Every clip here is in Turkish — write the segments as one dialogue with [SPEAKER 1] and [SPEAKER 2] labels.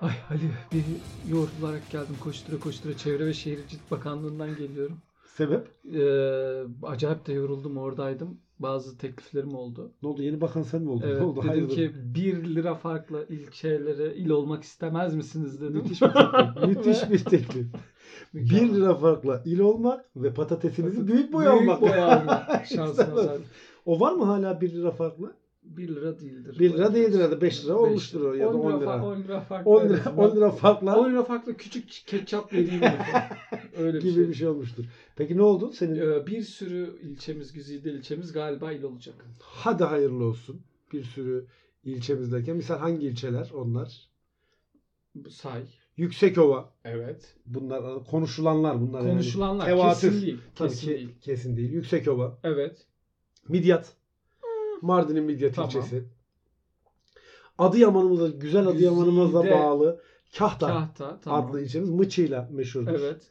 [SPEAKER 1] Ay Ali bir yoğrularak geldim koştura koştura Çevre ve Şehircilik Bakanlığı'ndan geliyorum.
[SPEAKER 2] Sebep?
[SPEAKER 1] Ee, acayip de yoruldum oradaydım. Bazı tekliflerim oldu.
[SPEAKER 2] Ne oldu? Yeni bakan sen mi oldun?
[SPEAKER 1] Evet
[SPEAKER 2] ne oldu?
[SPEAKER 1] dedim
[SPEAKER 2] Hayırdır?
[SPEAKER 1] ki 1 lira farkla ilçelere il olmak istemez misiniz dedim.
[SPEAKER 2] Müthiş bir teklif. Müthiş bir teklif.
[SPEAKER 1] Mükemmel.
[SPEAKER 2] 1 lira farkla il olmak ve patatesinizi büyük boy
[SPEAKER 1] Büyük
[SPEAKER 2] almak.
[SPEAKER 1] boy almak. Şansına
[SPEAKER 2] İstemez.
[SPEAKER 1] zaten.
[SPEAKER 2] O var mı hala 1 lira farkla?
[SPEAKER 1] 1 lira değildir.
[SPEAKER 2] 1 lira
[SPEAKER 1] Bayağı.
[SPEAKER 2] değildir herhalde. 5 lira
[SPEAKER 1] Beş
[SPEAKER 2] olmuştur o ya da 10
[SPEAKER 1] fa-
[SPEAKER 2] lira.
[SPEAKER 1] 10 lira farkla.
[SPEAKER 2] 10 lira, 10 lira farkla
[SPEAKER 1] 10 lira farkla küçük ketçap vereyim. dedim. Öyle bir şey.
[SPEAKER 2] gibi bir şey olmuştur. Peki ne oldu? Senin
[SPEAKER 1] Ee, bir sürü ilçemiz, güzide ilçemiz galiba il olacak.
[SPEAKER 2] hadi hayırlı olsun. Bir sürü ilçemizdeyken. Misal hangi ilçeler onlar?
[SPEAKER 1] Bu Say.
[SPEAKER 2] Yüksekova.
[SPEAKER 1] Evet.
[SPEAKER 2] Bunlar konuşulanlar bunlar yani.
[SPEAKER 1] Konuşulanlar
[SPEAKER 2] Tevatür.
[SPEAKER 1] kesin değil.
[SPEAKER 2] Tabii
[SPEAKER 1] Kesin
[SPEAKER 2] ki
[SPEAKER 1] değil.
[SPEAKER 2] kesin değil. Yüksekova.
[SPEAKER 1] Evet.
[SPEAKER 2] Midyat. Mardin'in Midyat
[SPEAKER 1] Tamam.
[SPEAKER 2] ilçesi. Adıyaman'ımıza, güzel Adıyaman'ımıza
[SPEAKER 1] Güzide.
[SPEAKER 2] bağlı Kahta
[SPEAKER 1] Kahta. Tamam.
[SPEAKER 2] adlı ilçemiz Mıçı'yla meşhurdur.
[SPEAKER 1] Evet.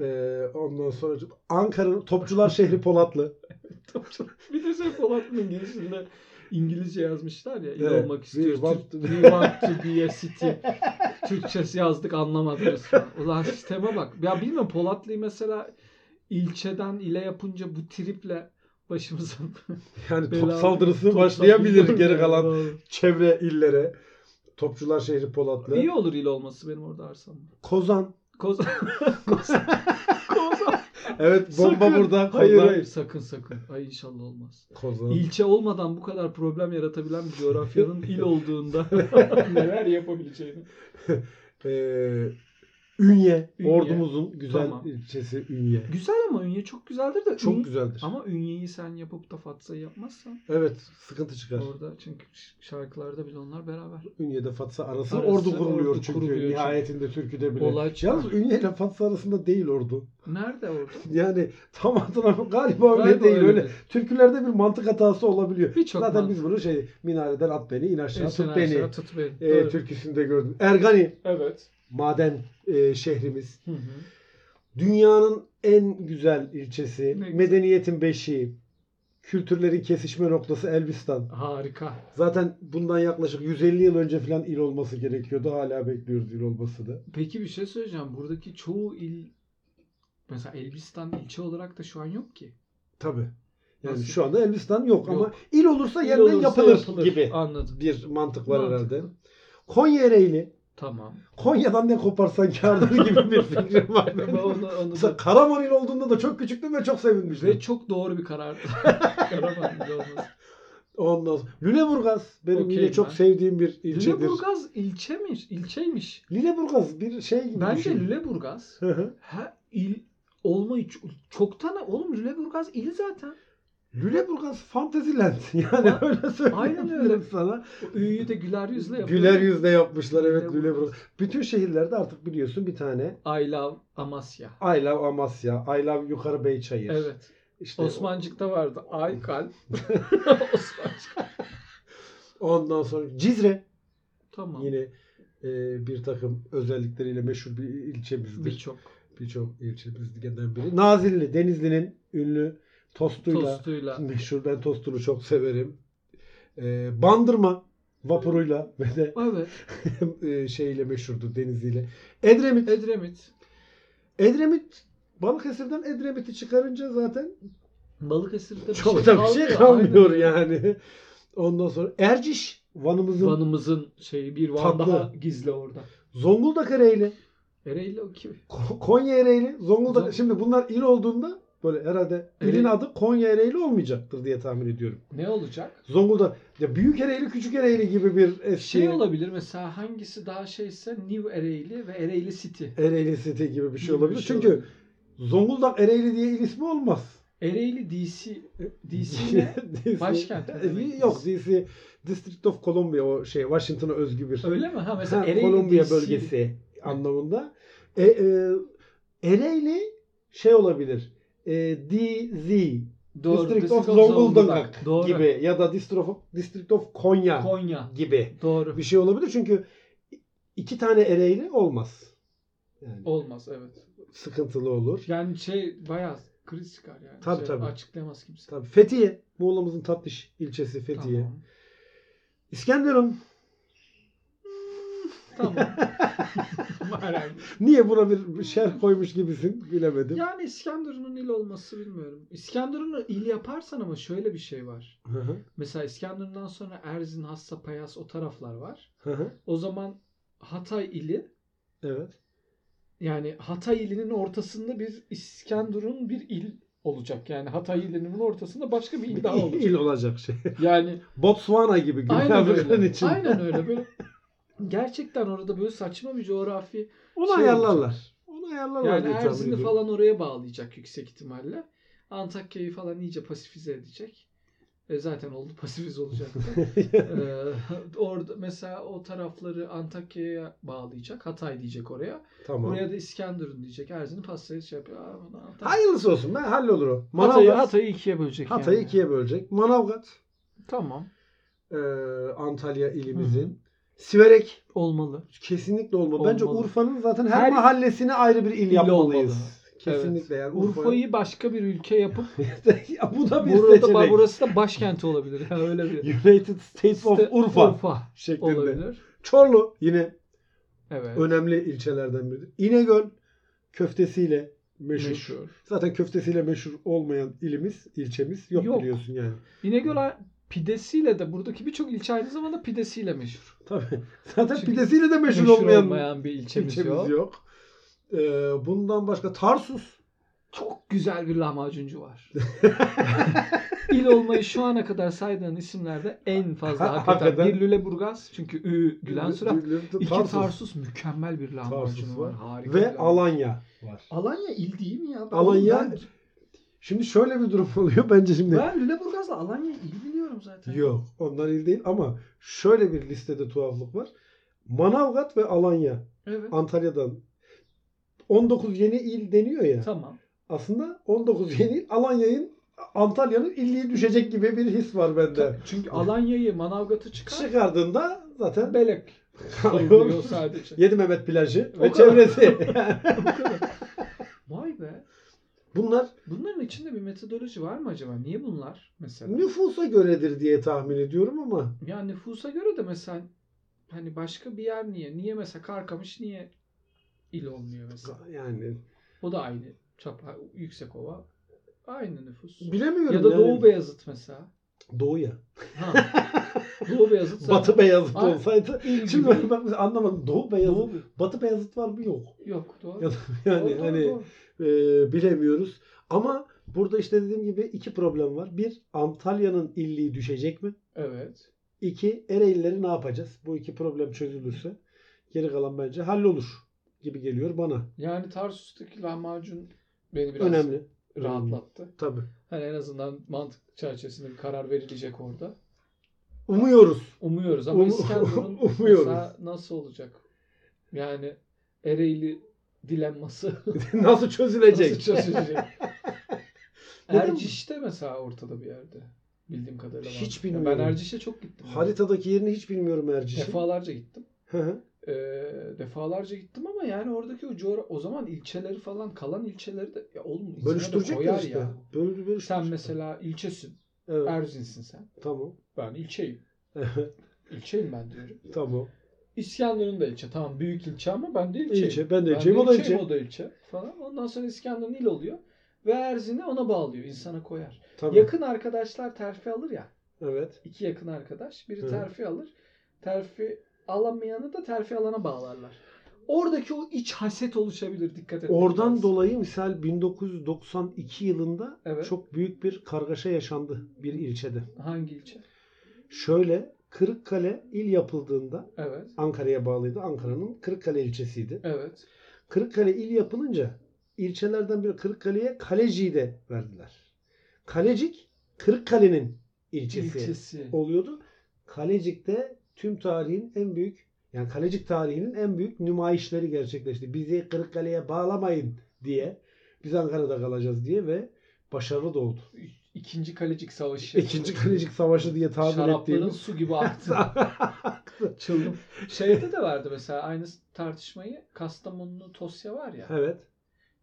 [SPEAKER 2] Ee, ondan sonra Ankara'nın Topçular şehri Polatlı.
[SPEAKER 1] bir de şey Polat'ın girişinde İngilizce yazmışlar ya. İyi
[SPEAKER 2] Evet.
[SPEAKER 1] olmak
[SPEAKER 2] We
[SPEAKER 1] istiyoruz.
[SPEAKER 2] want to-
[SPEAKER 1] We want to be a city. Türkçesi yazdık anlamadınız. Ulan sisteme bak. Ya bilmiyorum Polatlı'yı mesela ilçeden ile yapınca bu triple başımıza
[SPEAKER 2] Yani top
[SPEAKER 1] bela-
[SPEAKER 2] saldırısı
[SPEAKER 1] top
[SPEAKER 2] başlayabilir
[SPEAKER 1] saldırı-
[SPEAKER 2] geri kalan
[SPEAKER 1] Doğru.
[SPEAKER 2] çevre illere. Topçular şehri Polatlı.
[SPEAKER 1] İyi olur il olması benim orada arsam.
[SPEAKER 2] Kozan.
[SPEAKER 1] Kozan. Kozan. Kozan.
[SPEAKER 2] Evet bomba
[SPEAKER 1] Sakın.
[SPEAKER 2] burada. Kozan.
[SPEAKER 1] Hayır hayır sakın sakın. Ay inşallah olmaz.
[SPEAKER 2] Kozan.
[SPEAKER 1] İlçe olmadan bu kadar problem yaratabilen bir coğrafyanın il olduğunda neler yapabileceğini.
[SPEAKER 2] Ee, Ünye,
[SPEAKER 1] Ünye.
[SPEAKER 2] Ordumuzun güzel
[SPEAKER 1] Tamam.
[SPEAKER 2] ilçesi Ünye.
[SPEAKER 1] Güzel ama Ünye çok güzeldir de.
[SPEAKER 2] Çok
[SPEAKER 1] Ün-
[SPEAKER 2] güzeldir.
[SPEAKER 1] Ama Ünye'yi sen yapıp da Fatsa'yı yapmazsan
[SPEAKER 2] Evet sıkıntı çıkar.
[SPEAKER 1] orada çünkü ş- şarkılarda bile onlar beraber.
[SPEAKER 2] Ünye'de Fatsa arası,
[SPEAKER 1] Arası,
[SPEAKER 2] ordu kuruluyor
[SPEAKER 1] ordu
[SPEAKER 2] çünkü
[SPEAKER 1] kuruluyor.
[SPEAKER 2] nihayetinde türküde bile.
[SPEAKER 1] Olay çıkar.
[SPEAKER 2] Yalnız Ünye ile Fatsa arasında değil ordu.
[SPEAKER 1] Nerede orada?
[SPEAKER 2] Yani tam adına galiba öyle
[SPEAKER 1] Galiba
[SPEAKER 2] değil öyle.
[SPEAKER 1] öyledir.
[SPEAKER 2] Türkülerde bir mantık hatası olabiliyor.
[SPEAKER 1] Birçok
[SPEAKER 2] Zaten
[SPEAKER 1] mantık.
[SPEAKER 2] biz bunu şey minareden at beni in aşağı
[SPEAKER 1] Esen
[SPEAKER 2] tut beni
[SPEAKER 1] Aşağı Tut beni.
[SPEAKER 2] e,
[SPEAKER 1] Doğru.
[SPEAKER 2] türküsünde gördüm. Ergani
[SPEAKER 1] Evet.
[SPEAKER 2] maden e, şehrimiz.
[SPEAKER 1] Hı hı.
[SPEAKER 2] Dünyanın en güzel ilçesi,
[SPEAKER 1] Ne güzel.
[SPEAKER 2] medeniyetin beşiği, kültürlerin kesişme noktası Elbistan.
[SPEAKER 1] Harika.
[SPEAKER 2] Zaten bundan yaklaşık 150 yıl önce falan il olması gerekiyordu. Hala bekliyoruz il olmasını.
[SPEAKER 1] Peki bir şey söyleyeceğim. Buradaki çoğu il mesela Elbistan ilçe olarak da şu an yok ki.
[SPEAKER 2] Tabii. Yani
[SPEAKER 1] Nasıl?
[SPEAKER 2] şu anda Elbistan yok, ama
[SPEAKER 1] Yok.
[SPEAKER 2] il olursa
[SPEAKER 1] İl
[SPEAKER 2] yeniden
[SPEAKER 1] olursa
[SPEAKER 2] yapılır, gibi
[SPEAKER 1] Anladım.
[SPEAKER 2] bir mantık var
[SPEAKER 1] Mantıklı.
[SPEAKER 2] herhalde. Konya Ereğli.
[SPEAKER 1] Tamam.
[SPEAKER 2] Konya'dan ne koparsan kârdır gibi bir fikrim var.
[SPEAKER 1] Ben onu, onu
[SPEAKER 2] Mesela
[SPEAKER 1] da...
[SPEAKER 2] Karaman il olduğunda da çok küçüktüm ve çok sevinmiştim.
[SPEAKER 1] Ve çok doğru bir karar. Karaman bile olmaz.
[SPEAKER 2] Ondan sonra Lüleburgaz benim
[SPEAKER 1] Okey
[SPEAKER 2] yine çok
[SPEAKER 1] ben.
[SPEAKER 2] sevdiğim bir ilçedir.
[SPEAKER 1] Lüleburgaz ilçemiş, ilçeymiş.
[SPEAKER 2] Lüleburgaz bir şey gibi
[SPEAKER 1] Bence
[SPEAKER 2] düşün.
[SPEAKER 1] Lüleburgaz
[SPEAKER 2] Hı hı.
[SPEAKER 1] ha, il olmayı ç- çoktan oğlum Lüleburgaz il zaten.
[SPEAKER 2] Lüleburgaz Fantasyland. Yani öyle söyleyeyim.
[SPEAKER 1] Aynen öyle.
[SPEAKER 2] Sana.
[SPEAKER 1] O Ü'yü de güler yüzle yapıyor.
[SPEAKER 2] Güler yüzle yapmışlar evet
[SPEAKER 1] Lüleburgaz.
[SPEAKER 2] Lüleburgaz. Bütün şehirlerde artık biliyorsun bir tane
[SPEAKER 1] I love Amasya.
[SPEAKER 2] I love Amasya, I love Yukarı Beyçayır.
[SPEAKER 1] Evet.
[SPEAKER 2] İşte
[SPEAKER 1] Osmancık'ta vardı. Ay kalp. Osmancık.
[SPEAKER 2] Ondan sonra Cizre
[SPEAKER 1] Tamam.
[SPEAKER 2] yine e, bir takım özellikleriyle meşhur bir ilçemizdir.
[SPEAKER 1] Birçok.
[SPEAKER 2] Birçok ilçemizden biri. Nazilli, Denizli'nin ünlü tostuyla,
[SPEAKER 1] Tostuyla.
[SPEAKER 2] meşhur. Ben tostunu çok severim. E, Bandırma vapuruyla ve de
[SPEAKER 1] Evet.
[SPEAKER 2] e, şeyle meşhurdur Denizli'yle. Edremit.
[SPEAKER 1] Edremit.
[SPEAKER 2] Edremit Balıkesir'den Edremit'i çıkarınca zaten
[SPEAKER 1] Balıkesir'de
[SPEAKER 2] çok da bir şey
[SPEAKER 1] kalmıyor.
[SPEAKER 2] kalmıyor
[SPEAKER 1] Aynen.
[SPEAKER 2] yani. Ondan sonra Erciş Van'ımızın
[SPEAKER 1] Van'ımızın şeyi bir Van
[SPEAKER 2] Tatlı.
[SPEAKER 1] daha gizli orada.
[SPEAKER 2] Zonguldak Ereğli,
[SPEAKER 1] Ereğli o kim?
[SPEAKER 2] Ko- Konya Ereğli, Zonguldak.
[SPEAKER 1] Zong-
[SPEAKER 2] Şimdi bunlar il olduğunda böyle herhalde ilin
[SPEAKER 1] Ereğli.
[SPEAKER 2] adı Konya Ereğli olmayacaktır diye tahmin ediyorum.
[SPEAKER 1] Ne olacak?
[SPEAKER 2] Zonguldak ya Büyük Ereğli, Küçük Ereğli gibi bir eski
[SPEAKER 1] Şey olabilir mesela hangisi daha şeyse New Ereğli ve Ereğli City.
[SPEAKER 2] Ereğli site gibi bir şey
[SPEAKER 1] Gibi bir
[SPEAKER 2] olabilir.
[SPEAKER 1] şey
[SPEAKER 2] Çünkü Zonguldak Ereğli diye il ismi olmaz.
[SPEAKER 1] Ereğli DC. DC ne?
[SPEAKER 2] DC.
[SPEAKER 1] Başkent mi demek?
[SPEAKER 2] E, Yok DC District of Columbia o şey Washington'a özgü bir
[SPEAKER 1] Öyle mi? Ha mesela
[SPEAKER 2] Ha,
[SPEAKER 1] Ereğli
[SPEAKER 2] Kolombiya
[SPEAKER 1] DC.
[SPEAKER 2] bölgesi anlamında. E, e, Ereğli şey olabilir. E, DZ
[SPEAKER 1] Doğru.
[SPEAKER 2] District, of Zonguldak gibi ya da District of, District of Konya
[SPEAKER 1] Konya.
[SPEAKER 2] gibi
[SPEAKER 1] Doğru.
[SPEAKER 2] bir şey olabilir. Çünkü iki tane Ereğli olmaz. Yani
[SPEAKER 1] Olmaz evet.
[SPEAKER 2] sıkıntılı olur.
[SPEAKER 1] Yani şey bayağı kriz çıkar yani.
[SPEAKER 2] Tabii,
[SPEAKER 1] Şey,
[SPEAKER 2] tabii.
[SPEAKER 1] Açıklayamaz kimse.
[SPEAKER 2] Tabii Fethiye, Muğla'mızın tatlış ilçesi Fethiye.
[SPEAKER 1] Tamam.
[SPEAKER 2] İskenderun.
[SPEAKER 1] Tamam. Madem.
[SPEAKER 2] Niye buna bir şer koymuş gibisin bilemedim.
[SPEAKER 1] yani İskenderun'un il olması bilmiyorum. İskenderun'u il yaparsan ama şöyle bir şey var.
[SPEAKER 2] Hı hı,
[SPEAKER 1] Mesela İskenderun'dan sonra Erzin, Hassa, Payas o taraflar var.
[SPEAKER 2] hı hı.
[SPEAKER 1] O zaman Hatay ili
[SPEAKER 2] evet.
[SPEAKER 1] yani Hatay ilinin ortasında bir İskenderun bir il olacak. Yani Hatay ilinin ortasında başka bir il daha
[SPEAKER 2] İl,
[SPEAKER 1] olacak.
[SPEAKER 2] il olacak şey.
[SPEAKER 1] Yani
[SPEAKER 2] Botswana gibi Güney
[SPEAKER 1] Aynen
[SPEAKER 2] Afrika'nın
[SPEAKER 1] öyle.
[SPEAKER 2] için.
[SPEAKER 1] Aynen öyle. Böyle gerçekten orada böyle saçma bir coğrafi.
[SPEAKER 2] Onu
[SPEAKER 1] Şey
[SPEAKER 2] ayarlarlar. Onu ayarlarlar
[SPEAKER 1] Yani
[SPEAKER 2] diye tahmin
[SPEAKER 1] Erzin'i
[SPEAKER 2] ediyorum.
[SPEAKER 1] falan oraya bağlayacak yüksek ihtimalle. Antakya'yı falan iyice pasifize edecek. E zaten oldu pasifize olacak. ee, orada mesela o tarafları Antakya'ya bağlayacak. Hatay diyecek oraya.
[SPEAKER 2] tamam.
[SPEAKER 1] Oraya da İskenderun diyecek. Erzin'i pastaya şey yapıyor. Aa, bunu Antakya-
[SPEAKER 2] Hayırlısı olsun. Ben hallolur o.
[SPEAKER 1] Hatay'ı,
[SPEAKER 2] Manavgat.
[SPEAKER 1] Hatay'ı ikiye bölecek
[SPEAKER 2] Hatay'ı
[SPEAKER 1] yani.
[SPEAKER 2] ikiye bölecek. Manavgat.
[SPEAKER 1] Tamam.
[SPEAKER 2] e, Antalya ilimizin. Siverek
[SPEAKER 1] Olmalı.
[SPEAKER 2] kesinlikle olmalı. Bence
[SPEAKER 1] Olmalı.
[SPEAKER 2] Urfa'nın zaten her,
[SPEAKER 1] Her-
[SPEAKER 2] mahallesine ayrı bir il
[SPEAKER 1] İl
[SPEAKER 2] yapmalıyız.
[SPEAKER 1] olmalı.
[SPEAKER 2] Kesinlikle yani Urfa-
[SPEAKER 1] Urfa'yı başka bir ülke yapıp
[SPEAKER 2] ya bu da bir
[SPEAKER 1] Burada da,
[SPEAKER 2] seçenek.
[SPEAKER 1] burası da başkenti olabilir. Ha, öyle bir.
[SPEAKER 2] United States of
[SPEAKER 1] İşte
[SPEAKER 2] Urfa şeklinde.
[SPEAKER 1] olabilir.
[SPEAKER 2] Çorlu yine
[SPEAKER 1] Evet.
[SPEAKER 2] önemli ilçelerden biri. İnegöl köftesiyle meşhur.
[SPEAKER 1] Meşhur.
[SPEAKER 2] Zaten köftesiyle meşhur olmayan ilimiz, ilçemiz yok,
[SPEAKER 1] Yok.
[SPEAKER 2] biliyorsun yani.
[SPEAKER 1] İnegöl a- pidesiyle de buradaki birçok ilçe aynı zamanda pidesiyle meşhur.
[SPEAKER 2] Tabii. Zaten
[SPEAKER 1] Çünkü
[SPEAKER 2] pidesiyle de meşhur, olmayan,
[SPEAKER 1] olmayan, bir ilçemiz,
[SPEAKER 2] ilçemiz,
[SPEAKER 1] yok.
[SPEAKER 2] yok. Ee, bundan başka Tarsus.
[SPEAKER 1] Çok güzel bir lahmacuncu var. İl olmayı şu ana kadar saydığın isimlerde en fazla
[SPEAKER 2] Ha-
[SPEAKER 1] hakikaten.
[SPEAKER 2] hakikaten.
[SPEAKER 1] Bir Lüleburgaz çünkü Ü Gülen Sürat. İki Tarsus. mükemmel bir
[SPEAKER 2] Tarsus
[SPEAKER 1] lahmacun
[SPEAKER 2] var.
[SPEAKER 1] var. Harika. bir
[SPEAKER 2] ve
[SPEAKER 1] lahmacun.
[SPEAKER 2] Alanya var.
[SPEAKER 1] Alanya il değil mi ya? Ben-
[SPEAKER 2] Alanya-
[SPEAKER 1] Ben,
[SPEAKER 2] Şimdi şöyle bir durum oluyor bence şimdi.
[SPEAKER 1] ben Lüleburgaz'la Alanya il biliyorum zaten.
[SPEAKER 2] Yok onlar il değil ama şöyle bir listede tuhaflık var. Manavgat ve Alanya
[SPEAKER 1] Evet.
[SPEAKER 2] Antalya'dan 19 yeni il deniyor ya.
[SPEAKER 1] Tamam.
[SPEAKER 2] Aslında 19 yeni il Alanya'nın Antalya'nın illiği düşecek gibi bir his var bende.
[SPEAKER 1] Çünkü Alanya'yı Manavgat'ı çıkar.
[SPEAKER 2] Çıkardığında zaten
[SPEAKER 1] Belek sayılıyor sadece.
[SPEAKER 2] Yedi Mehmet plajı
[SPEAKER 1] O
[SPEAKER 2] ve
[SPEAKER 1] kadar.
[SPEAKER 2] çevresi.
[SPEAKER 1] Vay be.
[SPEAKER 2] Bunlar
[SPEAKER 1] Bunların içinde bir metodoloji var mı acaba? Niye bunlar mesela?
[SPEAKER 2] nüfusa göredir diye tahmin ediyorum ama
[SPEAKER 1] Yani nüfusa göre de mesela hani başka bir yer niye? Niye mesela Karkamış niye il olmuyor mesela?
[SPEAKER 2] yani
[SPEAKER 1] O da aynı. Çapa, Yüksekova. Aynı nüfus.
[SPEAKER 2] bilemiyorum.
[SPEAKER 1] Ya da
[SPEAKER 2] yani.
[SPEAKER 1] Doğu Beyazıt mesela.
[SPEAKER 2] Doğu ya.
[SPEAKER 1] Ha. Doğu Beyazıt zaten
[SPEAKER 2] Batı Beyazıt
[SPEAKER 1] Ay.
[SPEAKER 2] olsaydı.
[SPEAKER 1] il gibi.
[SPEAKER 2] Şimdi ben bak mesela anlamadım. Doğu Beyazıt.
[SPEAKER 1] Doğu Beyazıt.
[SPEAKER 2] Batı Beyazıt var mı? Yok.
[SPEAKER 1] Yok doğru.
[SPEAKER 2] Ya da Yani
[SPEAKER 1] Doğru, doğru,
[SPEAKER 2] hani
[SPEAKER 1] doğru.
[SPEAKER 2] e, bilemiyoruz. Ama burada işte dediğim gibi iki problem var. Bir Antalya'nın illiği düşecek mi?
[SPEAKER 1] Evet.
[SPEAKER 2] İki Ereğlileri ne yapacağız? Bu iki problem çözülürse geri kalan bence hallolur gibi geliyor bana.
[SPEAKER 1] Yani Tarsus'taki lahmacun beni biraz
[SPEAKER 2] Önemli.
[SPEAKER 1] rahatlattı.
[SPEAKER 2] Tabii.
[SPEAKER 1] Hani en azından mantık çerçevesinde bir karar verilecek orada.
[SPEAKER 2] Umuyoruz.
[SPEAKER 1] Umuyoruz ama
[SPEAKER 2] Um-
[SPEAKER 1] İskenderun
[SPEAKER 2] umuyoruz.
[SPEAKER 1] mesela nasıl olacak? Yani Ereğli dilenması
[SPEAKER 2] Nasıl çözülecek?
[SPEAKER 1] nasıl çözülecek?
[SPEAKER 2] Neden?
[SPEAKER 1] Erciş'te mesela ortada bir yerde. Bildiğim kadarıyla. var.
[SPEAKER 2] Hiç
[SPEAKER 1] Ya
[SPEAKER 2] bilmiyorum.
[SPEAKER 1] Ben Erciş'e çok gittim.
[SPEAKER 2] Haritadaki yerini hiç bilmiyorum Erciş'in.
[SPEAKER 1] Defalarca gittim.
[SPEAKER 2] Hı hı.
[SPEAKER 1] Ee, defalarca gittim ama yani oradaki o coğra- o zaman ilçeleri falan kalan ilçeleri de ya oğlum insana da
[SPEAKER 2] Bölüştürecekler
[SPEAKER 1] koyar
[SPEAKER 2] işte.
[SPEAKER 1] ya.
[SPEAKER 2] Böl-
[SPEAKER 1] Sen
[SPEAKER 2] bölüştürecekler.
[SPEAKER 1] mesela Er- ilçesin.
[SPEAKER 2] Evet,
[SPEAKER 1] Erzinsin sen.
[SPEAKER 2] tamam.
[SPEAKER 1] Ben ilçeyim. İlçeyim ben diyorum.
[SPEAKER 2] tamam.
[SPEAKER 1] İskenderun da ilçe. Tamam büyük ilçe ama ben de ilçeyim.
[SPEAKER 2] İlçe. Ben de
[SPEAKER 1] Ben
[SPEAKER 2] ilçeyim.
[SPEAKER 1] de
[SPEAKER 2] O da
[SPEAKER 1] ilçeyim,
[SPEAKER 2] ilçe.
[SPEAKER 1] o da ilçe falan. Ondan sonra İskenderun il oluyor. Ve Erzin'i ona bağlıyor. insana koyar.
[SPEAKER 2] Tabii.
[SPEAKER 1] Yakın arkadaşlar terfi alır ya.
[SPEAKER 2] Evet.
[SPEAKER 1] iki yakın arkadaş. Biri
[SPEAKER 2] Hı.
[SPEAKER 1] terfi alır. Terfi alamayanı da terfi alana bağlarlar. Oradaki o iç haset oluşabilir. Dikkat et.
[SPEAKER 2] Oradan dolayı misal 1992 yılında
[SPEAKER 1] Evet.
[SPEAKER 2] çok büyük bir kargaşa yaşandı bir ilçede.
[SPEAKER 1] Hangi ilçe?
[SPEAKER 2] Şöyle Kırıkkale il yapıldığında
[SPEAKER 1] Evet.
[SPEAKER 2] Ankara'ya bağlıydı. Ankara'nın Kırıkkale ilçesiydi.
[SPEAKER 1] Evet.
[SPEAKER 2] Kırıkkale il yapılınca ilçelerden biri Kırıkkale'ye Kaleci'yi de verdiler. Kalecik Kırıkkale'nin ilçesi
[SPEAKER 1] İlçesi.
[SPEAKER 2] oluyordu. Kalecik'te tüm tarihin en büyük yani Kalecik tarihinin en büyük nümayişleri gerçekleşti. Bizi Kırıkkale'ye bağlamayın diye. Biz Ankara'da kalacağız diye ve başarılı da oldu.
[SPEAKER 1] İkinci Kalecik Savaşı.
[SPEAKER 2] İkinci Kalecik Savaşı diye tabir
[SPEAKER 1] Şarapların
[SPEAKER 2] ettiğimiz.
[SPEAKER 1] su gibi aktı. Çıldım. Şeyde de vardı mesela aynı tartışmayı Kastamonu'nun Tosya var ya.
[SPEAKER 2] evet.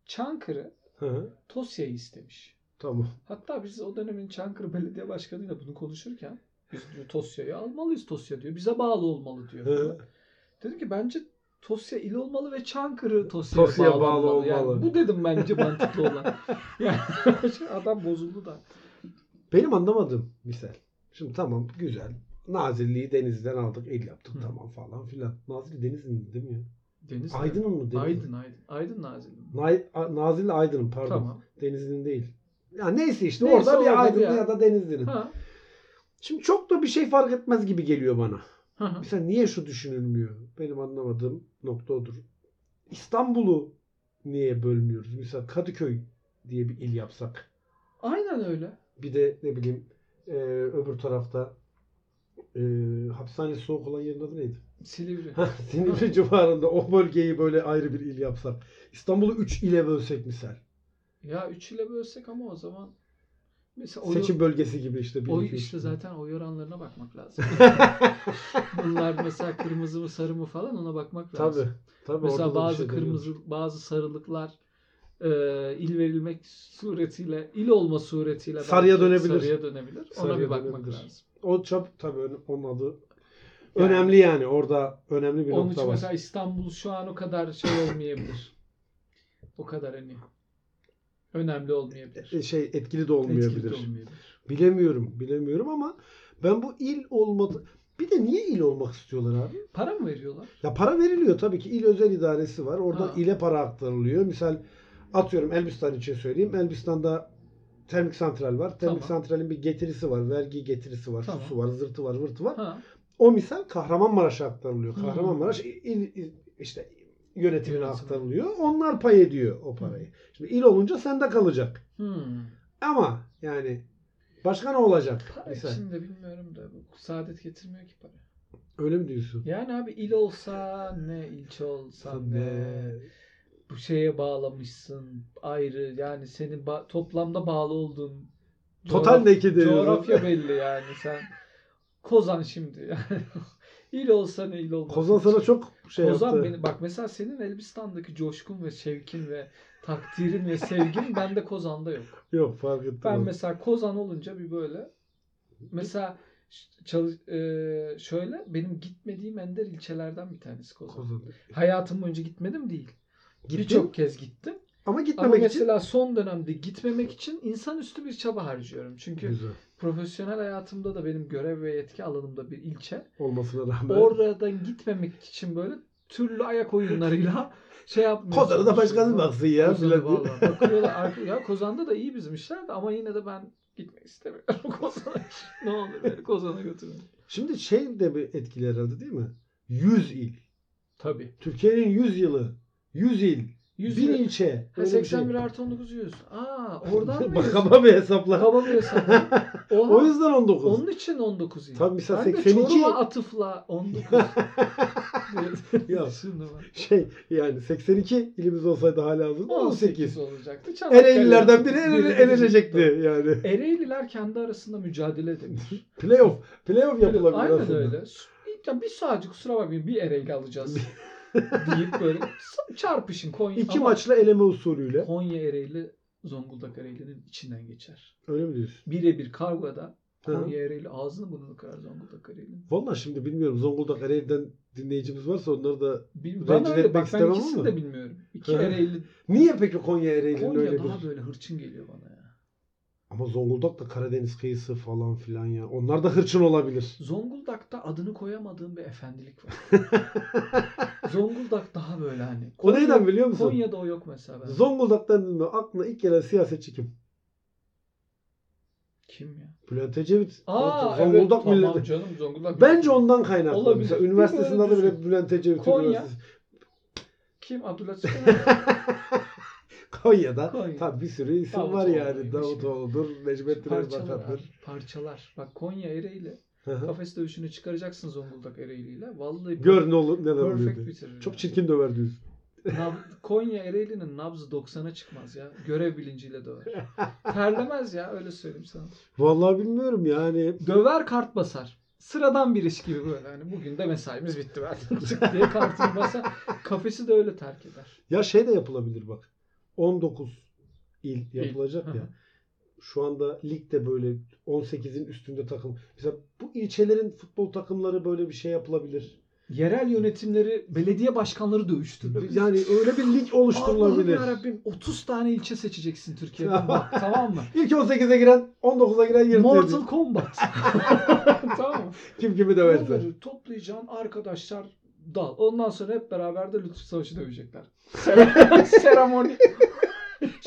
[SPEAKER 1] Çankırı
[SPEAKER 2] Hı hı.
[SPEAKER 1] Tosya'yı istemiş.
[SPEAKER 2] Tamam.
[SPEAKER 1] Hatta biz o dönemin Çankırı Belediye Başkanı'yla bunu konuşurken biz diyor Tosya'yı almalıyız Tosya diyor. Bize bağlı olmalı diyor.
[SPEAKER 2] Hı.
[SPEAKER 1] Dedim ki bence Tosya il olmalı ve Çankırı Tosya'ya,
[SPEAKER 2] Tosya'ya bağlı
[SPEAKER 1] bağlı olmalı. Yani
[SPEAKER 2] olmalı.
[SPEAKER 1] bu dedim bence mantıklı olan. Yani adam bozuldu da.
[SPEAKER 2] Benim anlamadığım misal. Şimdi tamam güzel. Nazilli'yi denizden aldık. El yaptık
[SPEAKER 1] Hı.
[SPEAKER 2] tamam falan filan. Nazilli denizin değil mi ya?
[SPEAKER 1] Deniz mi?
[SPEAKER 2] Aydın'ın mı deniz?
[SPEAKER 1] Aydın Aydın. Aydın Nazilli.
[SPEAKER 2] Nay- A- Nazilli Aydın'ın pardon.
[SPEAKER 1] Tamam.
[SPEAKER 2] Denizli'nin değil. Ya neyse işte
[SPEAKER 1] Neyse
[SPEAKER 2] orada
[SPEAKER 1] orada
[SPEAKER 2] bir Aydın'ın
[SPEAKER 1] ya.
[SPEAKER 2] ya. da Denizli'nin.
[SPEAKER 1] Ha.
[SPEAKER 2] Şimdi çok da bir şey fark etmez gibi geliyor bana.
[SPEAKER 1] Hı hı.
[SPEAKER 2] Mesela niye şu düşünülmüyor? Benim anlamadığım nokta odur. İstanbul'u niye bölmüyoruz? Mesela Kadıköy diye bir il yapsak.
[SPEAKER 1] Aynen öyle.
[SPEAKER 2] Bir de ne bileyim e, öbür tarafta e, hapishane soğuk olan yerin adı neydi?
[SPEAKER 1] Silivri.
[SPEAKER 2] Hah, Silivri civarında o bölgeyi böyle ayrı bir il yapsak. İstanbul'u 3 ile bölsek misal.
[SPEAKER 1] ya 3 ile bölsek ama o zaman mesela oy,
[SPEAKER 2] Seçim bölgesi gibi işte. bir,
[SPEAKER 1] oy
[SPEAKER 2] iki, üç.
[SPEAKER 1] işte zaten oy oranlarına bakmak lazım. Bunlar mesela kırmızı mı sarı mı falan ona bakmak lazım.
[SPEAKER 2] Tabii. Tabii orada da
[SPEAKER 1] Mesela
[SPEAKER 2] bir
[SPEAKER 1] bazı
[SPEAKER 2] şey deniyor.
[SPEAKER 1] kırmızı, bazı sarılıklar e, il verilmek suretiyle, il olma suretiyle
[SPEAKER 2] Sarıya
[SPEAKER 1] bence
[SPEAKER 2] dönebilir.
[SPEAKER 1] Sarıya dönebilir. Ona
[SPEAKER 2] Sarıya
[SPEAKER 1] bir bakmak
[SPEAKER 2] dönebilir.
[SPEAKER 1] lazım.
[SPEAKER 2] O çap tabii ön- onun adı
[SPEAKER 1] Yani-
[SPEAKER 2] önemli yani. Orada önemli bir
[SPEAKER 1] Onun
[SPEAKER 2] nokta
[SPEAKER 1] için
[SPEAKER 2] var.
[SPEAKER 1] mesela İstanbul şu an o kadar şey olmayabilir. O kadar hani önemli olmayabilir.
[SPEAKER 2] E, şey etkili de
[SPEAKER 1] Etkili de
[SPEAKER 2] olmayabilir.
[SPEAKER 1] olmayabilir.
[SPEAKER 2] Bilemiyorum, bilemiyorum ama ben bu il olmadı. Bir de niye il olmak istiyorlar abi?
[SPEAKER 1] Para mı veriyorlar?
[SPEAKER 2] Ya para veriliyor tabii ki. il özel idaresi var. Oradan
[SPEAKER 1] Ha.
[SPEAKER 2] ile para aktarılıyor. Misal atıyorum Elbistan için söyleyeyim. Elbistan'da termik santral var. Termik
[SPEAKER 1] Tamam.
[SPEAKER 2] santralin bir getirisi var. Vergi getirisi var.
[SPEAKER 1] Tamam.
[SPEAKER 2] Su var, zırtı var, vırtı var.
[SPEAKER 1] Ha.
[SPEAKER 2] O misal Kahramanmaraş'a aktarılıyor.
[SPEAKER 1] Hmm.
[SPEAKER 2] Kahramanmaraş il, il- işte yönetimine
[SPEAKER 1] Yönetim.
[SPEAKER 2] aktarılıyor. Onlar pay ediyor o parayı. Şimdi il olunca sende kalacak.
[SPEAKER 1] Hmm.
[SPEAKER 2] Ama yani başka ne olacak?
[SPEAKER 1] Para
[SPEAKER 2] Misal.
[SPEAKER 1] için de bilmiyorum da bu saadet getirmiyor ki para.
[SPEAKER 2] Öyle mi diyorsun?
[SPEAKER 1] Yani abi il olsa ne, ilçe olsa ne, bu şeye bağlamışsın ayrı yani senin ba- toplamda bağlı olduğun
[SPEAKER 2] Total
[SPEAKER 1] coğraf-
[SPEAKER 2] neki deniyor.
[SPEAKER 1] coğrafya belli yani sen Kozan şimdi yani il olsa ne il olmasa
[SPEAKER 2] Kozan sana çok şey
[SPEAKER 1] Kozan
[SPEAKER 2] yaptı.
[SPEAKER 1] beni bak mesela senin Elbistan'daki coşkun ve şevkin ve takdirin ve sevgin bende Kozan'da yok.
[SPEAKER 2] Yok fark ettim.
[SPEAKER 1] Ben
[SPEAKER 2] onu.
[SPEAKER 1] mesela Kozan olunca bir böyle mesela ş- çalış- e, şöyle benim gitmediğim ender ilçelerden bir tanesi Kozan.
[SPEAKER 2] Kozan.
[SPEAKER 1] Hayatım boyunca gitmedim değil.
[SPEAKER 2] Gittin
[SPEAKER 1] Birçok kez gittim.
[SPEAKER 2] ama
[SPEAKER 1] Ama
[SPEAKER 2] gitmemek için.
[SPEAKER 1] mesela son dönemde gitmemek için insanüstü bir çaba harcıyorum. Çünkü
[SPEAKER 2] Güzel.
[SPEAKER 1] profesyonel hayatımda da benim görev ve yetki alanımda bir ilçe.
[SPEAKER 2] Olmasına rağmen.
[SPEAKER 1] Oradan gitmemek için böyle türlü ayak oyunlarıyla şey yapmıyorum.
[SPEAKER 2] Kozan'a da başkası baksın ya.
[SPEAKER 1] Kozan'a
[SPEAKER 2] filan.
[SPEAKER 1] valla. Bakıyorlar arka- ya Kozan'da da iyi bizim işler de ama yine de ben gitmek istemiyorum Kozan'a. ne olur beni Kozan'a götürün.
[SPEAKER 2] Şimdi şey de bir etkili herhalde değil mi? 100 il.
[SPEAKER 1] Tabii.
[SPEAKER 2] Türkiye'nin 100 yılı. 100 il.
[SPEAKER 1] 100
[SPEAKER 2] 1000 ilçe. şey.
[SPEAKER 1] Ha, 81 artı 19 100. Aa oradan mıyız?
[SPEAKER 2] Bakama bir hesapla.
[SPEAKER 1] Bakama bir hesap. Oha.
[SPEAKER 2] O yüzden 19.
[SPEAKER 1] Onun için 19 yıl.
[SPEAKER 2] Tabii mesela
[SPEAKER 1] Ben de
[SPEAKER 2] 82
[SPEAKER 1] Çorum'a atıfla 19.
[SPEAKER 2] Ya.
[SPEAKER 1] ya. Şimdi bak.
[SPEAKER 2] Şey yani 82 ilimiz olsaydı hala hazırda
[SPEAKER 1] 18
[SPEAKER 2] 18.
[SPEAKER 1] olacaktı.
[SPEAKER 2] Ereğlilerden biri
[SPEAKER 1] Çanakkale-
[SPEAKER 2] ele- elenecekti yani.
[SPEAKER 1] Ereğliler kendi arasında mücadele edilmiş.
[SPEAKER 2] Playoff. Playoff yapılabilir
[SPEAKER 1] Aynen
[SPEAKER 2] aslında.
[SPEAKER 1] öyle. Ya bir sadece kusura bakmayın bir Ereğli alacağız deyip böyle s- çarpışın Konya.
[SPEAKER 2] İki
[SPEAKER 1] Ama
[SPEAKER 2] maçla eleme usulüyle.
[SPEAKER 1] Konya Ereğli Zonguldak Ereğli'nin içinden geçer.
[SPEAKER 2] Öyle mi diyorsun?
[SPEAKER 1] Birebir kavgada
[SPEAKER 2] Hı hı.
[SPEAKER 1] Konya Ereğli ağzını burnunu kırar Zonguldak Ereğli'nin.
[SPEAKER 2] Valla şimdi bilmiyorum Zonguldak Ereğli'den dinleyicimiz varsa onları da
[SPEAKER 1] Bil-
[SPEAKER 2] Rencide
[SPEAKER 1] Ben öyle
[SPEAKER 2] etmek
[SPEAKER 1] bak ben
[SPEAKER 2] istemem
[SPEAKER 1] ikisini
[SPEAKER 2] ama.
[SPEAKER 1] de bilmiyorum. İki
[SPEAKER 2] Hı.
[SPEAKER 1] Ereğli
[SPEAKER 2] Niye peki Konya Ereğli'nin
[SPEAKER 1] Konya
[SPEAKER 2] öyle bir?
[SPEAKER 1] daha böyle hırçın geliyor bana ya.
[SPEAKER 2] Ama Zonguldak da Karadeniz kıyısı falan filan ya. Onlar da hırçın olabilir.
[SPEAKER 1] Zonguldak'ta adını koyamadığım bir efendilik var. Zonguldak daha böyle hani.
[SPEAKER 2] O neyden biliyor musun?
[SPEAKER 1] Konya'da o yok mesela. Ben.
[SPEAKER 2] Zonguldak'tan dinle. aklına ilk gelen siyasetçi kim?
[SPEAKER 1] Kim ya?
[SPEAKER 2] Bülent Ecevit.
[SPEAKER 1] Aa
[SPEAKER 2] Zonguldak
[SPEAKER 1] evet, tamam
[SPEAKER 2] milleti.
[SPEAKER 1] canım Zonguldak.
[SPEAKER 2] Bence ondan kaynaklı.
[SPEAKER 1] Olabilir.
[SPEAKER 2] Mesela
[SPEAKER 1] Bir
[SPEAKER 2] üniversitesinin
[SPEAKER 1] böyle
[SPEAKER 2] adı bile
[SPEAKER 1] düşün.
[SPEAKER 2] Bülent Ecevit
[SPEAKER 1] Konya.
[SPEAKER 2] Üniversitesi.
[SPEAKER 1] Kim? Abdülhatif Ömer.
[SPEAKER 2] Konya'da.
[SPEAKER 1] Konya.
[SPEAKER 2] Tabii bir sürü isim
[SPEAKER 1] Davutoğlu
[SPEAKER 2] var yani.
[SPEAKER 1] neymiş
[SPEAKER 2] Davutoğlu'dur, Necmettin
[SPEAKER 1] şey. parçalar.
[SPEAKER 2] Erbakan'dır.
[SPEAKER 1] Parçalar. Bak Konya Ereğli.
[SPEAKER 2] Hı hı.
[SPEAKER 1] Kafes dövüşünü çıkaracaksın Zonguldak Ereğli'yle. Vallahi
[SPEAKER 2] Gör ne olur neler oluyor
[SPEAKER 1] Perfect
[SPEAKER 2] diye.
[SPEAKER 1] bitirir.
[SPEAKER 2] Çok
[SPEAKER 1] ya.
[SPEAKER 2] çirkin döver diyorsun.
[SPEAKER 1] Nab- Konya Ereğli'nin nabzı 90'a çıkmaz ya. Görev bilinciyle döver. Terlemez ya öyle söyleyeyim sana.
[SPEAKER 2] Vallahi bilmiyorum yani.
[SPEAKER 1] Döver kart basar. Sıradan bir iş gibi böyle. Hani bugün de mesaimiz bitti ben çık diye kartını basar. Kafesi de öyle terk eder.
[SPEAKER 2] Ya şey de yapılabilir bak. 19 il
[SPEAKER 1] İl.
[SPEAKER 2] yapılacak
[SPEAKER 1] Hı hı.
[SPEAKER 2] ya. Şu anda ligde böyle 18'in üstünde takım. Mesela bu ilçelerin futbol takımları böyle bir şey yapılabilir.
[SPEAKER 1] yerel yönetimleri belediye başkanları dövüştürülür.
[SPEAKER 2] Yani öyle bir lig
[SPEAKER 1] Allah'ım
[SPEAKER 2] oluşturulabilir.
[SPEAKER 1] yarabbim 30 tane ilçe seçeceksin Türkiye'de. Bak, tamam mı?
[SPEAKER 2] İlk 18'e giren 19'a giren yırtıyor.
[SPEAKER 1] Mortal Kombat. tamam mı?
[SPEAKER 2] Kim kimi döverse.
[SPEAKER 1] Bunları toplayacaksın arkadaşlar dal. Ondan sonra hep beraber de Lütfü Savaş'ı dövecekler. Sere- Seremoni.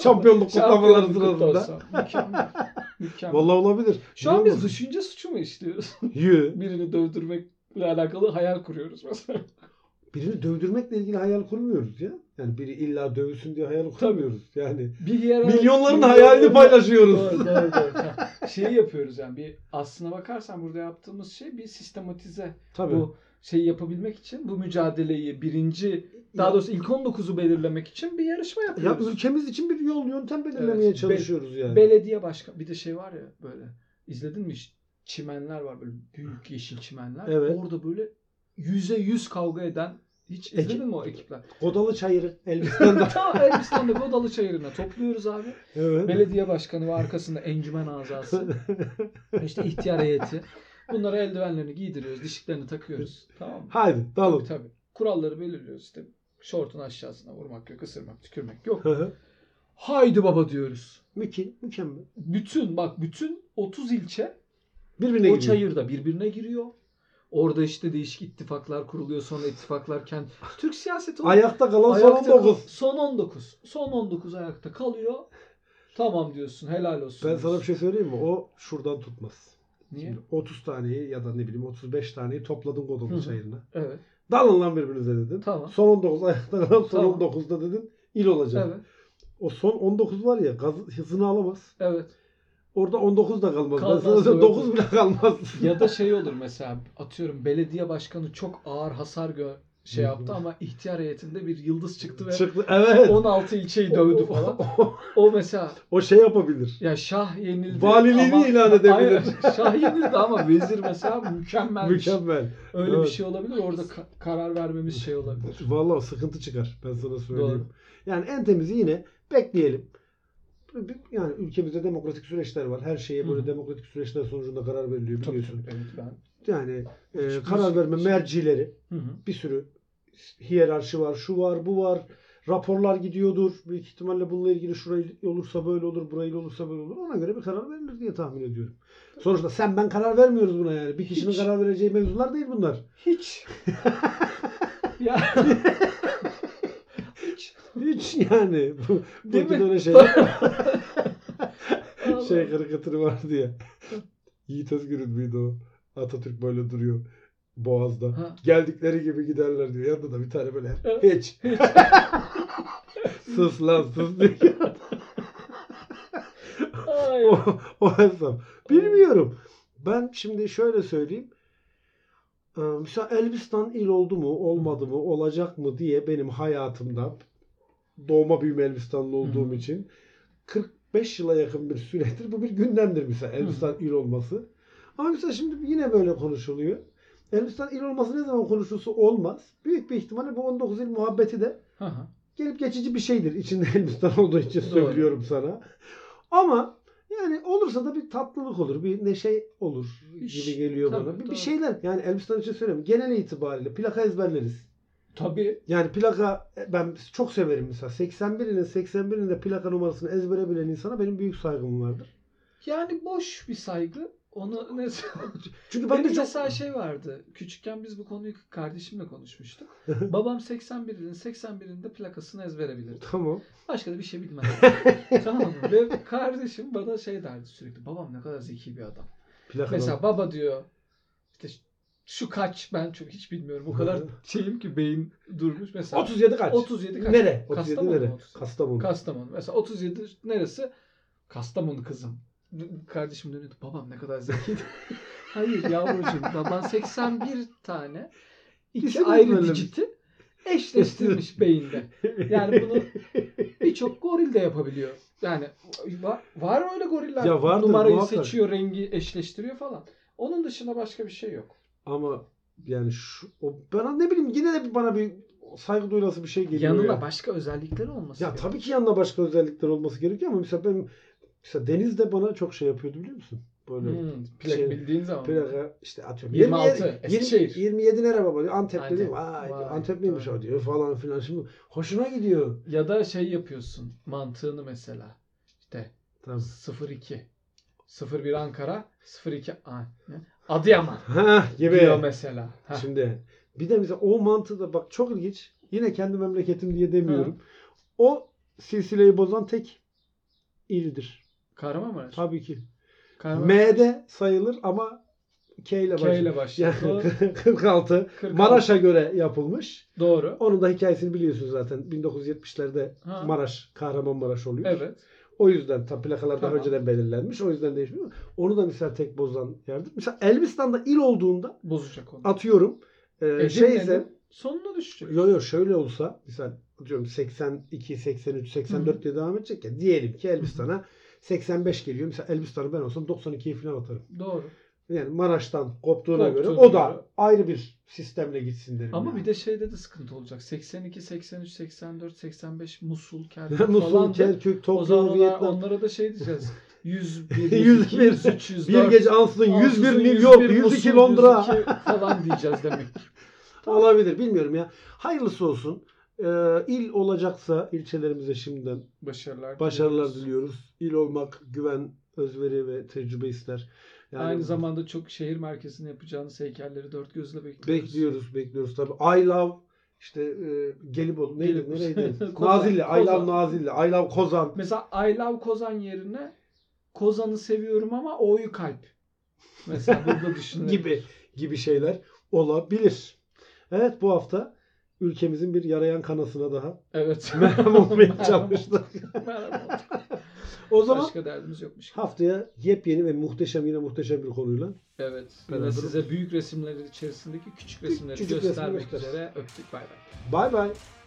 [SPEAKER 2] Şampiyonluk kutlamaları
[SPEAKER 1] Şampiyonluk
[SPEAKER 2] sırasında.
[SPEAKER 1] kutlarsa. Mükemmel. Mükemmel.
[SPEAKER 2] Vallahi olabilir.
[SPEAKER 1] Şu an biz
[SPEAKER 2] Bilmiyorum.
[SPEAKER 1] düşünce suçu mu işliyoruz?
[SPEAKER 2] Yü.
[SPEAKER 1] Birini dövdürmekle alakalı hayal kuruyoruz mesela.
[SPEAKER 2] Birini dövdürmekle ilgili hayal kurmuyoruz ya. Yani biri illa dövülsün diye hayal kurmuyoruz. Yani
[SPEAKER 1] Bir yer
[SPEAKER 2] milyonların hayalini paylaşıyoruz.
[SPEAKER 1] Doğru, doğru, doğru. Ha, Şeyi yapıyoruz yani bir aslına bakarsan burada yaptığımız şey bir sistematize
[SPEAKER 2] Tabii.
[SPEAKER 1] bu şeyi yapabilmek için bu mücadeleyi birinci daha doğrusu ilk 19'u belirlemek için bir yarışma
[SPEAKER 2] ya
[SPEAKER 1] yapıyoruz.
[SPEAKER 2] ülkemiz için bir yol yöntem belirlemeye
[SPEAKER 1] Evet. Be-
[SPEAKER 2] çalışıyoruz yani.
[SPEAKER 1] Belediye başkan bir de şey var ya böyle izledin mi hiç? çimenler var böyle büyük yeşil çimenler.
[SPEAKER 2] Evet.
[SPEAKER 1] Orada böyle yüze yüz kavga eden hiç izledin
[SPEAKER 2] Ekip.
[SPEAKER 1] mi o ekipler?
[SPEAKER 2] Kodalı çayırı Elbistan'da.
[SPEAKER 1] Tamam Elbistan'da Godalı Çayırı'na topluyoruz abi.
[SPEAKER 2] evet.
[SPEAKER 1] Belediye başkanı ve arkasında encümen azası. işte ihtiyar heyeti. Bunlara eldivenlerini giydiriyoruz. Dişliklerini takıyoruz. Tamam mı?
[SPEAKER 2] Haydi
[SPEAKER 1] Tabii
[SPEAKER 2] dalın.
[SPEAKER 1] tabii. Kuralları belirliyoruz işte. Şortun aşağısına vurmak yok, ısırmak, tükürmek yok.
[SPEAKER 2] Hı hı.
[SPEAKER 1] Haydi baba diyoruz.
[SPEAKER 2] Mükemmel. Mükemmel.
[SPEAKER 1] Bütün bak bütün 30 ilçe
[SPEAKER 2] Birbirine
[SPEAKER 1] o
[SPEAKER 2] giriyor.
[SPEAKER 1] çayırda birbirine giriyor. Orada işte değişik ittifaklar kuruluyor. Sonra ittifaklar kendi... Türk siyaseti o.
[SPEAKER 2] Ayakta kalan
[SPEAKER 1] Ayakta
[SPEAKER 2] son
[SPEAKER 1] kal-
[SPEAKER 2] 19.
[SPEAKER 1] Son 19. Son 19 ayakta kalıyor. Tamam diyorsun. Helal olsun.
[SPEAKER 2] Ben sana bir
[SPEAKER 1] diyorsun.
[SPEAKER 2] şey söyleyeyim mi? O şuradan tutmaz.
[SPEAKER 1] Niye?
[SPEAKER 2] Şimdi 30 taneyi ya da ne bileyim 35 taneyi topladın
[SPEAKER 1] Hı hı.
[SPEAKER 2] Godalı çayırına.
[SPEAKER 1] Evet.
[SPEAKER 2] Dalın lan birbirinize dedin.
[SPEAKER 1] Tamam.
[SPEAKER 2] Son 19 ayakta kalan son
[SPEAKER 1] Tamam.
[SPEAKER 2] 19'da dedin il olacak.
[SPEAKER 1] Evet.
[SPEAKER 2] O son 19 var ya gaz hızını alamaz.
[SPEAKER 1] Evet.
[SPEAKER 2] Orada 19 da kalmaz.
[SPEAKER 1] Kalmaz,
[SPEAKER 2] ben sana söyleyeyim,
[SPEAKER 1] doğru.
[SPEAKER 2] 9 bile kalmaz.
[SPEAKER 1] Ya da şey olur mesela atıyorum belediye başkanı çok ağır hasar gö şey yaptı ama ihtiyar heyetinde bir yıldız çıktı ve
[SPEAKER 2] Çıktı. Evet.
[SPEAKER 1] 16 ilçeyi dövdü falan.
[SPEAKER 2] O,
[SPEAKER 1] O mesela
[SPEAKER 2] o şey yapabilir.
[SPEAKER 1] ya şah yenildi.
[SPEAKER 2] Valiliğini
[SPEAKER 1] ama-
[SPEAKER 2] ilan edebilir.
[SPEAKER 1] Hayır, şah yenildi ama vezir mesela mükemmel. şey.
[SPEAKER 2] Mükemmel.
[SPEAKER 1] Öyle bir
[SPEAKER 2] Evet.
[SPEAKER 1] şey olabilir. Orada ka- karar vermemiz şey olabilir.
[SPEAKER 2] Vallahi sıkıntı çıkar. Ben sana söyleyeyim.
[SPEAKER 1] Doğru.
[SPEAKER 2] Yani en temizi yine bekleyelim. Yani ülkemizde demokratik süreçler var. Her şeye böyle
[SPEAKER 1] Hı.
[SPEAKER 2] demokratik süreçler sonucunda karar veriliyor
[SPEAKER 1] Tabii
[SPEAKER 2] biliyorsun.
[SPEAKER 1] tabii. Evet ben.
[SPEAKER 2] Yani e,
[SPEAKER 1] Hiçbir
[SPEAKER 2] karar
[SPEAKER 1] şey-
[SPEAKER 2] verme mercileri
[SPEAKER 1] Hı hı.
[SPEAKER 2] bir sürü hiyerarşi var. Şu var, bu var. Raporlar gidiyordur. Büyük ihtimalle bununla ilgili şurayı olursa böyle olur, burayı olursa böyle olur. Ona göre bir karar verilir diye tahmin ediyorum. Sonuçta sen ben karar vermiyoruz buna yani. Bir kişinin
[SPEAKER 1] Hiç.
[SPEAKER 2] karar vereceği mevzular değil bunlar.
[SPEAKER 1] Hiç. ya. Hiç.
[SPEAKER 2] Hiç yani. Bu, bu
[SPEAKER 1] Değil mi?
[SPEAKER 2] öyle şeyler.
[SPEAKER 1] Allah.
[SPEAKER 2] şey karikatürü vardı ya. Yiğit Özgür'ün müydü o? Atatürk böyle duruyor Boğaz'da.
[SPEAKER 1] Ha.
[SPEAKER 2] Geldikleri gibi giderler diyor. Yanında da bir tane böyle
[SPEAKER 1] Evet.
[SPEAKER 2] hiç. sus lan sus diyor.
[SPEAKER 1] Ay.
[SPEAKER 2] o, o hesap. Bilmiyorum. Ben şimdi şöyle söyleyeyim. Ee, Mesela Elbistan il oldu mu, olmadı mı, olacak mı diye benim hayatımda doğma büyüme Elbistanlı olduğum
[SPEAKER 1] Hı.
[SPEAKER 2] için 45 yıla yakın bir süredir bu bir gündemdir mesela Elbistan il olması. Ama mesela şimdi yine böyle konuşuluyor. Elbistan il olması ne zaman konuşulsa olmaz. Büyük bir ihtimalle bu 19 il muhabbeti de
[SPEAKER 1] Hı hı.
[SPEAKER 2] gelip geçici bir şeydir. İçinde Hindistan olduğu için
[SPEAKER 1] Doğru.
[SPEAKER 2] söylüyorum sana. Ama yani olursa da bir tatlılık olur. Bir neşe olur
[SPEAKER 1] İş,
[SPEAKER 2] gibi geliyor
[SPEAKER 1] tabii,
[SPEAKER 2] bana. Bir, bir
[SPEAKER 1] doğru.
[SPEAKER 2] şeyler yani Elbistan için söylüyorum. Genel itibariyle plaka ezberleriz.
[SPEAKER 1] Tabii.
[SPEAKER 2] Yani plaka e, ben çok severim mesela. 81'inin 81'inde plaka numarasını ezbere bilen insana benim büyük saygım vardır.
[SPEAKER 1] Yani boş bir saygı. Onu ne
[SPEAKER 2] Çünkü ben
[SPEAKER 1] Benim
[SPEAKER 2] de çok...
[SPEAKER 1] mesela şey vardı. Küçükken biz bu konuyu kardeşimle konuşmuştuk. Babam 81'in 81'inde plakasını ezbere bilirdi.
[SPEAKER 2] Tamam.
[SPEAKER 1] Başka da bir şey bilmez. tamam mı? Ve kardeşim bana şey derdi sürekli. Babam ne kadar zeki bir adam.
[SPEAKER 2] Plaka
[SPEAKER 1] Mesela baba diyor işte şu kaç ben çok hiç bilmiyorum. O kadar şeyim ki beyin durmuş. Mesela
[SPEAKER 2] 37 kaç?
[SPEAKER 1] 37 kaç?
[SPEAKER 2] Nere? 37
[SPEAKER 1] Kastamonu
[SPEAKER 2] nere?
[SPEAKER 1] mu?
[SPEAKER 2] Kastamonu.
[SPEAKER 1] Kastamonu. Mesela 37 neresi? Kastamonu kızım. Kardeşim dönüyordu. Babam ne kadar zekiydi. Hayır yavrucuğum. Baban 81 tane iki
[SPEAKER 2] İsim
[SPEAKER 1] ayrı
[SPEAKER 2] ezberlemiş.
[SPEAKER 1] dijiti eşleştirmiş beyinde. Yani bunu birçok goril de yapabiliyor. Yani va- var öyle goriller.
[SPEAKER 2] Ya vardır,
[SPEAKER 1] Numarayı
[SPEAKER 2] muhakkak.
[SPEAKER 1] seçiyor, rengi eşleştiriyor falan. Onun dışında başka bir şey yok.
[SPEAKER 2] Ama yani şu o, bana ne bileyim yine de bir- bana bir saygı duyulası bir şey geliyor.
[SPEAKER 1] Yanında
[SPEAKER 2] ya.
[SPEAKER 1] başka özellikleri olması
[SPEAKER 2] ya
[SPEAKER 1] gerek.
[SPEAKER 2] tabii ki yanında başka özellikler olması gerekiyor ama mesela ben mesela Deniz de bana çok şey yapıyordu biliyor musun? Böyle
[SPEAKER 1] Hmm, plak
[SPEAKER 2] Şey-
[SPEAKER 1] bildiğin zaman.
[SPEAKER 2] plaka işte atıyorum.
[SPEAKER 1] 26
[SPEAKER 2] 27,
[SPEAKER 1] Eskişehir.
[SPEAKER 2] 27 nere baba diyor. Antepli
[SPEAKER 1] Antep.
[SPEAKER 2] değil mi? Vay,
[SPEAKER 1] Vay,
[SPEAKER 2] Antepliymiş
[SPEAKER 1] doğru.
[SPEAKER 2] o diyor falan filan. Şimdi hoşuna gidiyor.
[SPEAKER 1] Ya da şey yapıyorsun mantığını mesela. İşte
[SPEAKER 2] Tamam.
[SPEAKER 1] 02. 01 Ankara, 02 A- ne? Adıyaman
[SPEAKER 2] Ha
[SPEAKER 1] diyor
[SPEAKER 2] gibi.
[SPEAKER 1] mesela. Ha.
[SPEAKER 2] Şimdi bir de mesela o mantığı da bak çok ilginç. Yine kendi memleketim diye demiyorum. O silsileyi bozan tek ildir.
[SPEAKER 1] Kahramanmaraş.
[SPEAKER 2] Tabii ki.
[SPEAKER 1] Kahramanmaraş.
[SPEAKER 2] M'de sayılır ama K ile
[SPEAKER 1] K
[SPEAKER 2] başlıyor.
[SPEAKER 1] ile
[SPEAKER 2] Yani
[SPEAKER 1] başlıyor. Doğru.
[SPEAKER 2] 46
[SPEAKER 1] 46.
[SPEAKER 2] Maraş'a göre yapılmış.
[SPEAKER 1] Doğru.
[SPEAKER 2] Onun da hikayesini biliyorsunuz zaten. 1970'lerde
[SPEAKER 1] Ha.
[SPEAKER 2] Maraş, Kahramanmaraş oluyor.
[SPEAKER 1] Evet.
[SPEAKER 2] O yüzden tam plakalar daha
[SPEAKER 1] Tamam.
[SPEAKER 2] önceden belirlenmiş. O yüzden değişmiyor. Onu da mesela tek bozan yerdir. Mesela Elbistan'da il olduğunda
[SPEAKER 1] Bozacak onu.
[SPEAKER 2] atıyorum e, şeyse
[SPEAKER 1] Edirne'nin sonuna düşecek.
[SPEAKER 2] yo yo şöyle olsa mesela atıyorum 82, 83, 84 diye devam edecek ya. Diyelim ki Elbistan'a 85 geliyor. Mesela Elbistan'ı ben olsam 92'ye falan atarım.
[SPEAKER 1] Doğru.
[SPEAKER 2] Yani Maraş'tan koptuğuna göre
[SPEAKER 1] Koptuğuna
[SPEAKER 2] o da
[SPEAKER 1] göre.
[SPEAKER 2] ayrı bir sistemle gitsin derim.
[SPEAKER 1] Ama
[SPEAKER 2] yani.
[SPEAKER 1] bir de şeyde de sıkıntı olacak. 82, 83, 84, 85 Musul, Kerkük
[SPEAKER 2] Musul,
[SPEAKER 1] falan da
[SPEAKER 2] Kerkük,
[SPEAKER 1] O
[SPEAKER 2] Tokyo,
[SPEAKER 1] zaman ona-
[SPEAKER 2] Vietnam.
[SPEAKER 1] onlara da şey diyeceğiz. 101, 102,
[SPEAKER 2] 101,
[SPEAKER 1] 103, 104.
[SPEAKER 2] Bir gece Ansın, 101 New York, 102 Londra.
[SPEAKER 1] 102 falan diyeceğiz demek.
[SPEAKER 2] Olabilir bilmiyorum ya. Hayırlısı olsun. Ee, il olacaksa ilçelerimize şimdiden
[SPEAKER 1] Başarılar.
[SPEAKER 2] başarılar
[SPEAKER 1] diliyoruz.
[SPEAKER 2] diliyoruz. İl olmak güven, özveri ve tecrübe ister. Yani
[SPEAKER 1] Aynı zamanda çok şehir merkezinde yapacağınız heykelleri dört gözle bekliyoruz.
[SPEAKER 2] bekliyoruz, bekliyoruz tabii. I love işte e, Gelibolu neydi,
[SPEAKER 1] Gelibolu.
[SPEAKER 2] nereydi?
[SPEAKER 1] Kozan,
[SPEAKER 2] Nazilli, I love
[SPEAKER 1] Kozan.
[SPEAKER 2] Nazilli, I love Kozan.
[SPEAKER 1] Mesela I love Kozan yerine Kozan'ı seviyorum ama O'yu kalp. Mesela burada düşünün.
[SPEAKER 2] gibi gibi şeyler olabilir. Evet bu hafta ülkemizin bir yarayan kanasına daha
[SPEAKER 1] Evet.
[SPEAKER 2] merhem olmaya çalıştık.
[SPEAKER 1] Merhaba.
[SPEAKER 2] O zaman
[SPEAKER 1] Başka derdimiz yokmuş.
[SPEAKER 2] haftaya yepyeni ve muhteşem yine muhteşem bir konuyla
[SPEAKER 1] Evet.
[SPEAKER 2] Beraber-
[SPEAKER 1] Yine size büyük resimlerin içerisindeki küçük resimleri
[SPEAKER 2] Küçük resimleri
[SPEAKER 1] göstermek
[SPEAKER 2] göster.
[SPEAKER 1] üzere öptük. Bay bay.
[SPEAKER 2] Bay bay.